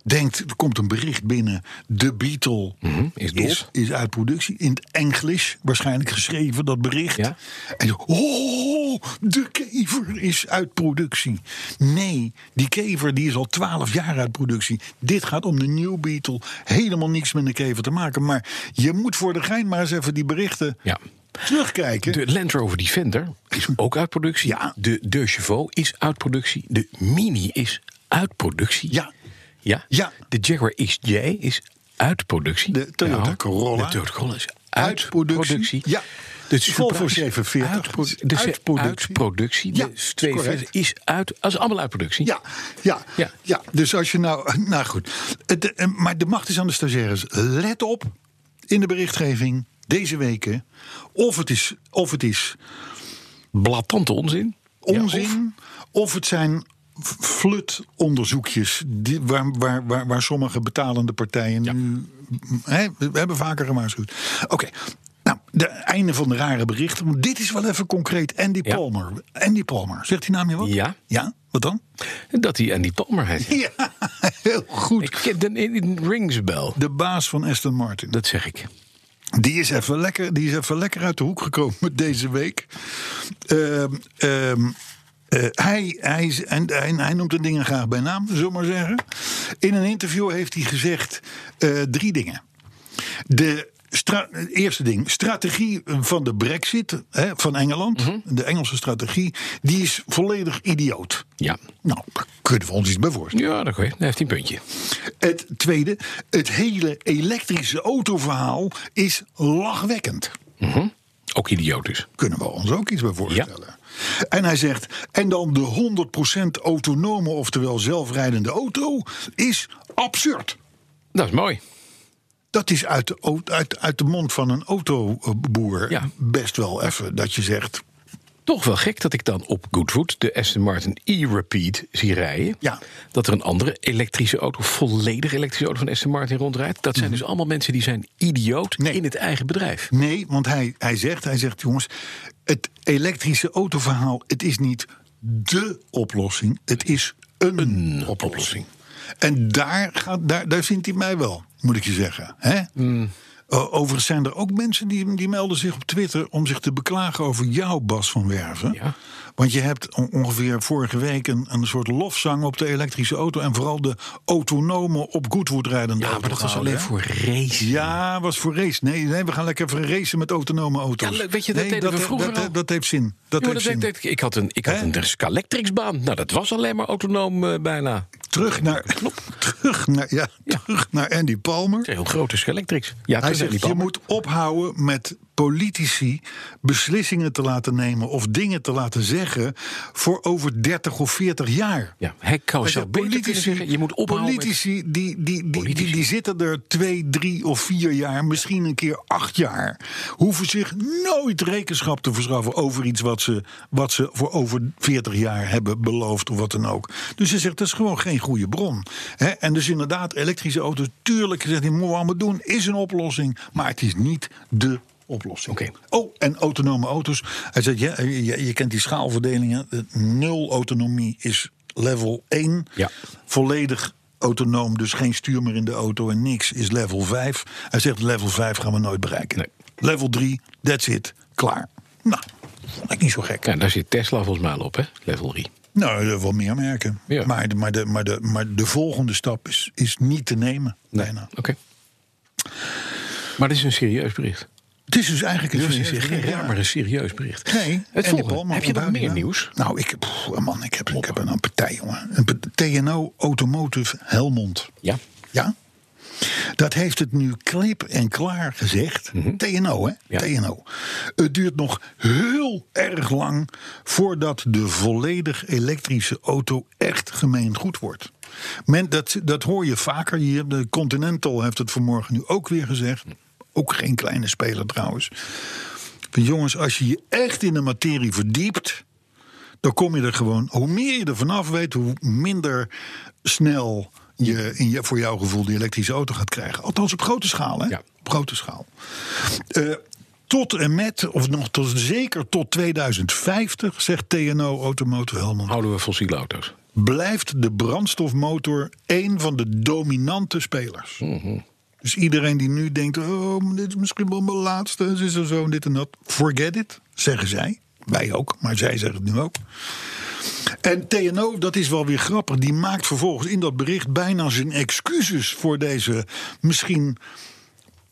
denkt, er komt een bericht binnen, de Beatle Mhm, is dus. dood. is, is uit productie, in het Engels waarschijnlijk geschreven dat bericht. Ja. En zo, oh, de kever is uit productie. Nee, die kever die is al twaalf jaar uit productie. Dit gaat om de New Beatle, helemaal niks met de kever te maken. Maar je moet voor de gein maar eens even die berichten Ja. terugkijken. De Land Rover Defender is ook uit productie. Ja. De De Chauveau is uit productie. De Mini is uit productie. Ja. Ja? Ja. De Jaguar XJ is uit productie. Nou, De Toyota Corolla. De Toyota Corolla is uit, Uit productie. productie. Ja. De Volvo Supra is 740 Uit, pro- is de uit uit productie. Uit productie. productie. Ja, De is 240 correct. is uit. Dat is allemaal uit productie. Ja, ja, ja, Ja. Dus als je nou. [laughs] Nou goed. Het, eh, maar de macht is aan de stagiaires. Let op in de berichtgeving deze weken. Of het is, of het is Blattante onzin. onzin. Ja, of- of... het zijn flutonderzoekjes. Die, waar, waar, waar, waar sommige betalende partijen nu. Hè, we we hebben vaker gewaarschuwd. Oké. Nou, de einde van de rare berichten. Want dit is wel even concreet. Andy Ja. Palmer. Andy Palmer. Zegt die naam je wat? Ja. Ja? Wat dan? [laughs] dat hij Andy Palmer heet. Ja, heel goed. Ik ken de it rings bell. De baas van Aston Martin. Dat zeg ik. Die is even lekker, die is even lekker uit de hoek gekomen [laughs] deze week. Ehm, ehm, eh, hij, hij, is- en, en hij noemt de dingen graag bij naam, zullen we maar zeggen. In een interview heeft hij gezegd eh, drie dingen. De stra- eh, eerste ding, strategie van de brexit hè, van Engeland. De Engelse strategie, die is volledig idioot. Ja. Nou, daar kunnen we ons iets bij voorstellen. Ja, dat kan je. Daar heeft hij een puntje. Het tweede, het hele elektrische autoverhaal is lachwekkend. Ook idioot dus. Kunnen we ons ook iets bij voorstellen. En hij zegt, en dan de 100% autonome, oftewel zelfrijdende auto, is absurd. Dat is mooi. Dat is uit de, au- uit, uit de mond van een autoboer Ja. best wel even dat je zegt... Toch wel gek dat ik dan op Goodwood de Aston Martin E-Rapide zie rijden. Ja. Dat er een andere elektrische auto, volledig elektrische auto van Aston Martin rondrijdt. Dat zijn dus allemaal mensen die zijn idioot Mhm. Nee. in het eigen bedrijf. Nee, want hij, hij, zegt, hij zegt, jongens, het elektrische autoverhaal, het is niet dé oplossing, het is een, oplossing. En daar, gaat, daar, daar vindt hij mij wel, moet ik je zeggen. Hè? Mm. O- Overigens zijn er ook mensen die, die melden zich op Twitter om zich te beklagen over jou, Bas van Werven. Ja. Want je hebt on- ongeveer vorige week een, een soort lofzang op de elektrische auto en vooral de autonome op Goodwood rijdende Ja, auto maar dat was gehouden, alleen hè? voor race. Ja, was voor race. Nee, nee, we gaan lekker even racen met autonome auto's. Ja, leuk, weet je, dat nee, deden we vroeger dat, al. dat, dat heeft zin. Dat Jongen, heeft zin. dat weet ik, ik had een, ik had Hè? een Scalectrics-baan. Nou, dat was alleen maar autonoom eh, bijna. Terug naar, [laughs] terug, naar, ja, Ja. terug naar Andy Palmer. Heel grote Scalectrics. Ja, Hij toen zijn zegt, die je banden. moet ophouden met politici beslissingen te laten nemen of dingen te laten zeggen voor over 30 of 40 jaar. Ja, hij zou zelf Hij zegt, beter kunnen zeggen, je moet ophouden met- Politici, die, die, die, Politici. Die, die zitten er twee, drie of vier jaar, misschien een keer acht jaar. Hoeven zich nooit rekenschap te verschaffen over iets wat ze, wat ze voor over 40 jaar hebben beloofd of wat dan ook. Dus ze zegt dat is gewoon geen goede bron. Hè, en dus inderdaad, elektrische auto's, tuurlijk, zegt hij, moeten we allemaal doen, is een oplossing, maar het is niet de oplossing. Oké. Oh, en autonome auto's. Hij zegt, ja, je, je- je kent die schaalverdelingen. Eh, Nul autonomie is level 1. Ja. Volledig autonoom, dus geen stuur meer in de auto en niks, is level 5. Hij zegt, level 5 gaan we nooit bereiken. Nee. Level 3, that's it, klaar. Nou, vond ik niet zo gek. Ja, daar zit Tesla volgens mij al op, hè? Level 3. Nou, er wel meer merken. Ja. Maar, de, maar, de, maar, de, maar de volgende stap is, is niet te nemen. bijna. Oké. Maar dit is een serieus bericht. Het is dus eigenlijk een Serieus serieus- bericht. Ja, maar een serieus bericht. Nee. Het en die volgende. Palmer Heb je nog ontbouwt meer nou. nieuws? Nou, ik, pff, man, ik heb, ik heb een partij, jongen. Een p- TNO Automotive Helmond. Ja. Ja? Dat heeft het nu klip en klaar gezegd. TNO, hè? Ja. TNO. Het duurt nog heel erg lang voordat de volledig elektrische auto echt gemeen goed wordt. Men, dat, dat hoor je vaker. Hier, de Continental heeft het vanmorgen nu ook weer gezegd. Ook geen kleine speler trouwens. Van jongens, als je je echt in de materie verdiept, dan kom je er gewoon. Hoe meer je er vanaf weet, hoe minder snel je, in je voor jouw gevoel die elektrische auto gaat krijgen. Althans op grote schaal, hè? Ja. Op grote schaal. Eh, tot en met, of nog tot, zeker tot 2050, zegt TNO Automotive Helmond Houden we fossiele auto's? blijft de brandstofmotor één van de dominante spelers. Dus iedereen die nu denkt, oh, maar dit is misschien wel mijn laatste, het is er zo en dit en dat. Forget it, zeggen zij. Wij ook, maar zij zeggen het nu ook. En TNO, dat is wel weer grappig, die maakt vervolgens in dat bericht bijna zijn excuses voor deze misschien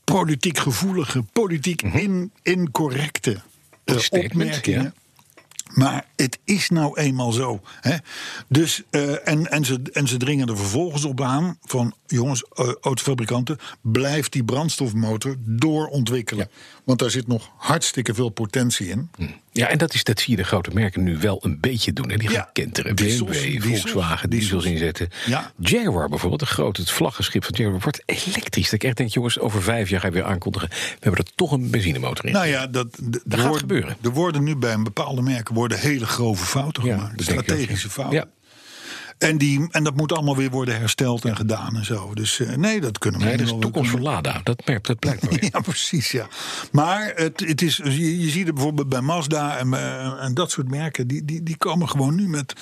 politiek gevoelige, politiek Mhm. in, incorrecte eh, Statement, opmerkingen. ja. Maar het is nou eenmaal zo. Hè? Dus, eh, en, en, ze, en ze dringen er vervolgens op aan van jongens, eh, autofabrikanten, blijf die brandstofmotor doorontwikkelen. Want daar zit nog hartstikke veel potentie in. Ja, en dat, is, dat zie je de grote merken nu wel een beetje doen. En die gaan Ja. kenteren. Diesels, BMW, diesels, Volkswagen, diesels, diesels. inzetten. Ja. Jaguar bijvoorbeeld, het grote het vlaggenschip van Jaguar, wordt elektrisch. Dat ik echt denk, jongens, over vijf jaar ga je weer aankondigen. We hebben er toch een benzinemotor in. Nou ja, dat, d- er gaat worden- gebeuren. Er worden nu bij een bepaalde merken worden hele grove fouten Ja, gemaakt. dat denk ik ook, Strategische ja. fouten. Ja. En, die, en dat moet allemaal weer worden hersteld en gedaan en zo. Dus eh, nee, dat kunnen we nee, dat is helemaal- toekomst voor Lada. Dat merkt dat [laughs] blijkt maar weer. Ja, precies, ja. Maar het, het is, je, je ziet het bijvoorbeeld bij Mazda en, eh, en dat soort merken... Die, die, die komen gewoon nu met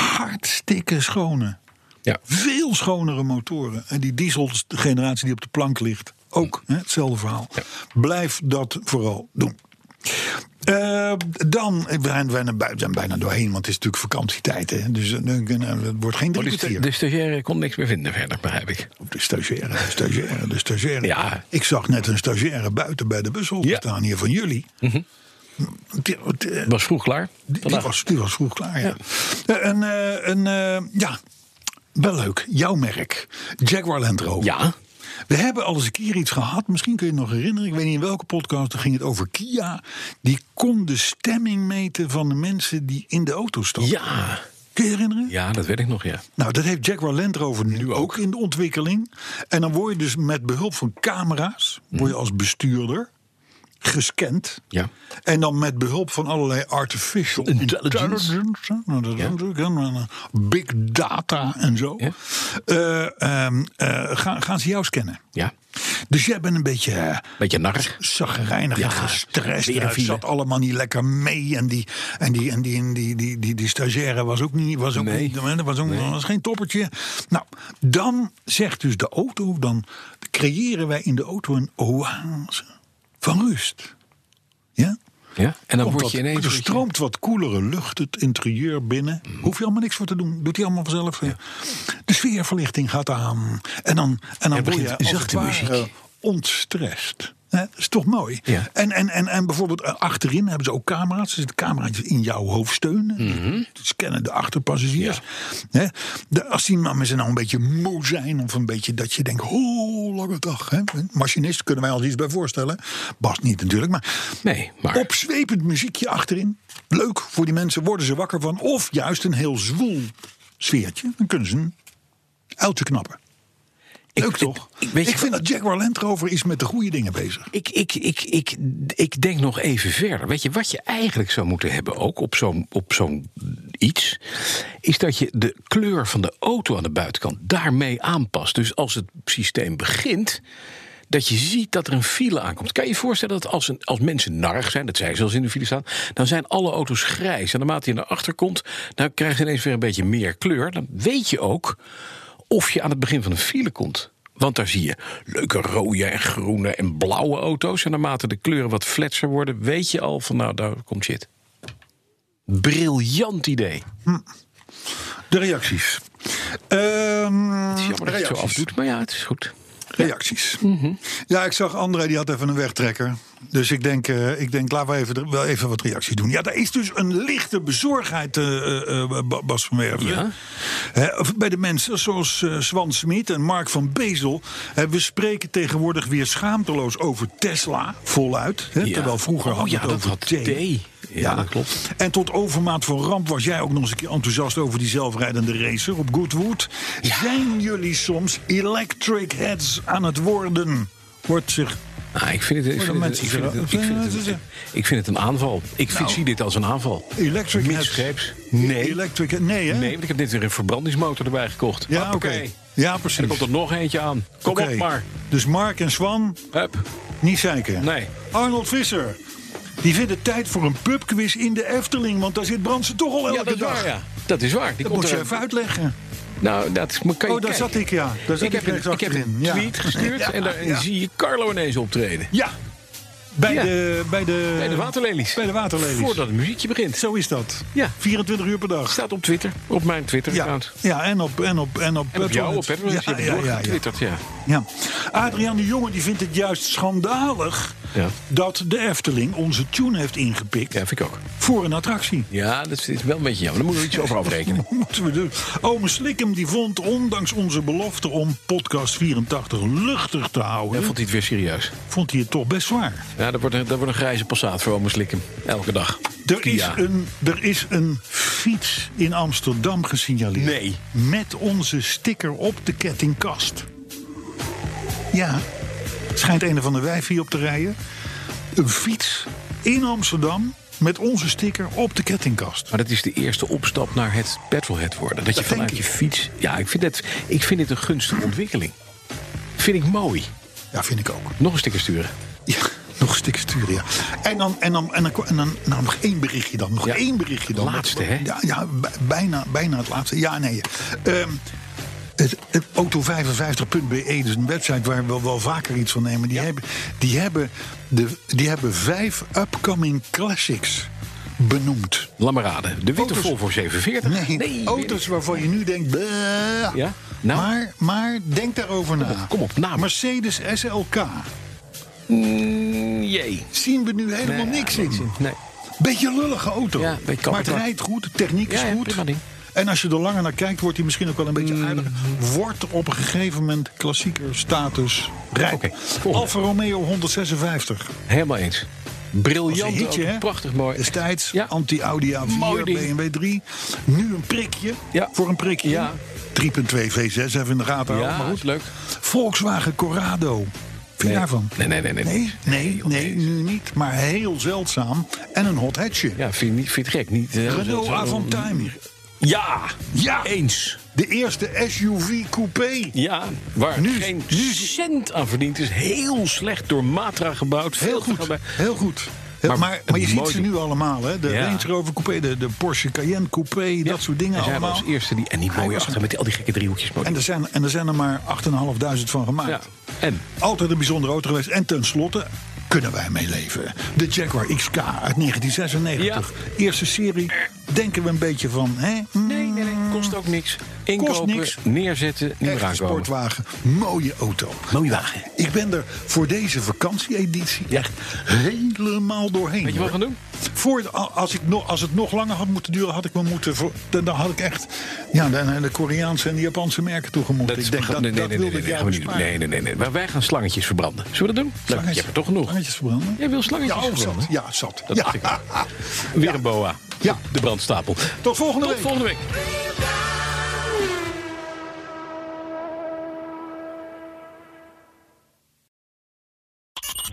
hartstikke schone, Ja. veel schonere motoren. En die dieselgeneratie die op de plank ligt, ook hè, hetzelfde verhaal. Blijf dat vooral doen. Eh, dan, we zijn, bijna, we zijn bijna doorheen, want het is natuurlijk vakantietijd. Hè? Dus eh, nou, het wordt geen Oh, drie dus de, kwartier. de stagiaire kon niks meer vinden verder, begrijp ik. Op de stagiaire, de stagiaire, de stagiaire. Ja. Ik zag net een stagiaire buiten bij de bushol Ja. staan hier van jullie. Die, eh, die- Was vroeg klaar. die Vandaag. was, die was vroeg klaar, ja. Eh, Een, eh, een, eh, ja, wel leuk. Jouw merk, Jaguar Land Rover. Ja. We hebben al eens een keer iets gehad, misschien kun je het nog herinneren. Ik weet niet in welke podcast, toen ging het over Kia. Die kon de stemming meten van de mensen die in de auto stappen. Ja. Kun je je herinneren? Ja, dat weet ik nog, ja. Nou, dat heeft Jaguar Land Rover nu, ook. in de ontwikkeling. En dan word je dus met behulp van camera's, Mhm. word je als bestuurder gescand. Ja. En dan met behulp van allerlei artificial Intelligence. intelligence. hè, nou, dat is Ja. natuurlijk, hè, maar, eh, Big data en zo. Ja. eh, ehm, eh, gaan, gaan ze jou scannen. Ja. Dus jij bent een beetje... eh, Beetje nar. zagrijnig Ja, en gestrest. weer En een het file. zat allemaal niet lekker mee. En die, en die, en die, en die, die, die, die stagiaire was ook niet. Was ook Nee. niet- was ook was geen toppertje. Nou, dan zegt dus de auto. Dan creëren wij in de auto een oase van rust. Ja? Ja. En dan Komt word je Hmm. wat- ineens... er stroomt wat koelere lucht het interieur binnen. Hoef je allemaal niks voor te doen. Doet hij allemaal vanzelf. De sfeerverlichting gaat aan. En dan, en dan begint word je als het zachte ware muziek. ontstrest. Hè, Dat is toch mooi. Ja. En, en, en, en bijvoorbeeld eh, achterin hebben ze ook camera's. Er zitten camera's in jouw hoofdsteun. Mhm. Die scannen de achterpassagiers. Hè, de- als die mannen ze nou een beetje moe zijn. Of een beetje dat je denkt, ho, lange dag. Hè? Machinist kunnen wij ons iets bij voorstellen. Bas niet natuurlijk. Maar Nee, maar... opzwepend muziekje achterin. Leuk voor die mensen, worden ze wakker van. Of juist een heel zwoel sfeertje. Dan kunnen ze een uiltje knappen. Ik- Leuk toch? ik- Ik, ik- weet je- vind dat Jaguar Land Rover is met de goede dingen bezig. Ik, ik, ik, ik, ik denk nog even verder. Weet je, wat je eigenlijk zou moeten hebben ook op zo'n op zo'n iets... is dat je de kleur van de auto aan de buitenkant daarmee aanpast. Dus als het systeem begint, dat je ziet dat er een file aankomt. Kan je je voorstellen dat als, een, als mensen narig zijn... dat zij zelfs in de file staan, dan zijn alle auto's grijs. En naarmate je naar achter komt, dan krijgt je ineens weer een beetje meer kleur. Dan weet je ook of je aan het begin van een file komt. Want daar zie je leuke rode en groene en blauwe auto's. En naarmate de kleuren wat fletser worden, weet je al van nou, daar komt shit. Briljant idee. De reacties. Ehm, Het is jammer dat je het zo reacties. afdoet, maar ja, het is goed. Reacties. Ja, ik zag André, die had even een wegtrekker. Dus ik denk, eh, ik denk laten we even, wel even wat reacties doen. Ja, daar is dus een lichte bezorgdheid, eh, eh, eh, Ba- Bas van Werven. Ja. Hè, of bij de mensen zoals eh, Swan Smit en Mark van Bezel. Hè, we spreken tegenwoordig weer schaamteloos over Tesla, voluit. Hè, Ja. Terwijl vroeger Oh hadden ja, we het dat over had thee. thee. Ja, dat klopt. En tot overmaat van ramp was jij ook nog eens een keer enthousiast over die zelfrijdende racer op Goodwood. Zijn jullie soms electric heads aan het worden? Wordt zich. Ah, ik vind het- ik Voor de vind het- mensen ik vind het- die nou, ik vind het- ik vind het- ik vind het een aanval. Ik vind- zie dit als een aanval. Electric Misgreeps? heads. Nee. Electric, nee, hè? Nee, want ik heb net weer een verbrandingsmotor erbij gekocht. Ja, oké. Hoppakee. Ja, En precies. er komt er nog eentje aan. Kom Oké. op maar. Dus Mark en Swan, Hup. niet zeiken. Nee. Arnold Visser. Die vindt het tijd voor een pubquiz in de Efteling, want daar zit Brandsen toch al elke Ja, dat is dag. waar, ja. Dat is waar. Die Dat komt moet je er- even uitleggen. Nou, dat moet- kan je Oh, daar kijken. zat ik, ja. Daar zat ik, heb rechts een, ik heb een achterin, ja. tweet gestuurd en daar ja. zie je Carlo ineens optreden. Ja, bij, Ja. De, bij de... Bij de waterlelies. Bij de waterlelies. Voordat het muziekje begint. Zo is dat. Ja. 24 uur per dag. Staat op Twitter, op mijn Ja, Twitter-account. ja en op en op en op, En op jou, op Petronet. Petronet. Je hebt ja, ja, ja, ja. doorgetwitterd, ja. ja. Adriaan de Jonge die vindt het juist schandalig Ja. dat de Efteling onze tune heeft ingepikt Ja, vind ik ook. voor een attractie. [laughs] Ja, dat is wel een beetje jammer. Daar moeten we iets over afrekenen. Hoe moeten we doen? Ome Slikkem die vond, ondanks onze belofte om podcast 84 luchtig te Ja, houden, vond hij het weer serieus. vond hij het toch best zwaar. Ja, dat wordt een, dat wordt een grijze passaat voor Ome Slikkem. Elke dag. Er is, Kia. een, er is een fiets in Amsterdam gesignaleerd. Nee. Met onze sticker op de kettingkast. Ja, schijnt een van de wijf hier op te rijden. Een fiets in Amsterdam met onze sticker op de kettingkast. Maar dat is de eerste opstap naar het petrolhead worden. Dat je denk vanuit ik. je fiets... Ja, ik vind, dat, ik vind dit een gunstige ontwikkeling. Vind ik mooi. Ja, vind ik ook. Nog een sticker sturen. Ja, [laughs] nog een stuk sturen, ja. En dan, en dan, en dan, en dan nou, nog één berichtje dan. Nog Ja. één berichtje dan. Laatste, hè? Ja, ja b- bijna, bijna het laatste. Ja, nee. Ehm, het, het auto55.be, dus een website waar we wel vaker iets van nemen. Die, hebben, die, hebben de, die hebben vijf upcoming classics benoemd. Laat maar raden. De witte Auto's. Volvo 47. Nee, weer niet. auto's waarvan je nu denkt... "Bleh." Ja, nou? maar, maar denk daarover na. kom op, namen. Mercedes SLK. Mm, Jee. Zien we nu helemaal Nee, niks ja, in. Nee. Beetje lullige auto. Ja, beetje maar het kapot. rijdt goed, de techniek is Ja, ja, goed. prima ding. Mm. En als je er langer naar kijkt, wordt hij misschien ook wel een beetje aardiger. Wordt op een gegeven moment klassieker status rijk. Oké, volgende. Alfa Romeo 156. Helemaal eens. Was een Briljant. hitje, auto, hè? Prachtig mooi. Destijds, Ja. anti-Audi A4, Mooi ding. BMW 3. Nu een prikje, Ja. voor een prikje. Ja. 3.2 V6, even in de gaten houden. Ja, Maar is goed. leuk. Volkswagen Corrado. Vind je Nee. daarvan? Nee, nee, nee, nee. Nee, Nee, nee, joh, nee, nee. nu niet. Maar heel zeldzaam. En een hot hatchje. Ja, vind je, niet- vind je het gek? Niet, eh, zo- Renault zo- Avantime. Ja. Ja. Eens. De eerste SUV coupé. Ja, waar Nu- geen nu- cent aan verdiend is. Heel slecht door Matra gebouwd. Heel Veel te goed. gaan bij- Heel goed. Heel- Maar- Maar, maar, je een ziet mooi ze ding. nu allemaal, hè? De Ja. Range Rover coupé, de, de Porsche Cayenne coupé, dat soort dingen En zij waren Nou, allemaal. als eerste die... En die mooie was achter met die- al die gekke driehoekjes. En er, zijn, en er zijn er maar 8.500 van gemaakt. Ja. En? Altijd een bijzondere auto geweest. En tenslotte kunnen wij meeleven. De Jaguar XK uit 1996. Eerste serie. Denken we een beetje van, hè? Mm, nee, nee. kost ook niks. Inkopen, niks. neerzetten, niet meer Echte aankomen. sportwagen. Mooie auto. Mooie wagen. Ik ben er voor deze vakantieeditie echt helemaal doorheen. Weet je wat we gaan doen? Voor, het- als, ik, nog- als het nog langer had moeten duren, had ik me moeten. voor- Dan, dan had ik echt. Ja, dan naar de Koreaanse en de Japanse merken toegemoet. is- Ik denk we dat gaan- dat nee, nee, nee, wilde nee, ik nee, jou gaan we niet doen. besparen. nee, nee, nee, nee. Maar wij gaan slangetjes verbranden. Zullen we dat doen? Leuk, je hebt er toch genoeg. Slangetjes verbranden? Jij wil slangetjes ja, oh, verbranden? zat. Ja, zat. Dat ja. dacht ik al. Weer een boa. Ja. De brandstapel. Tot volgende Tot week. volgende week.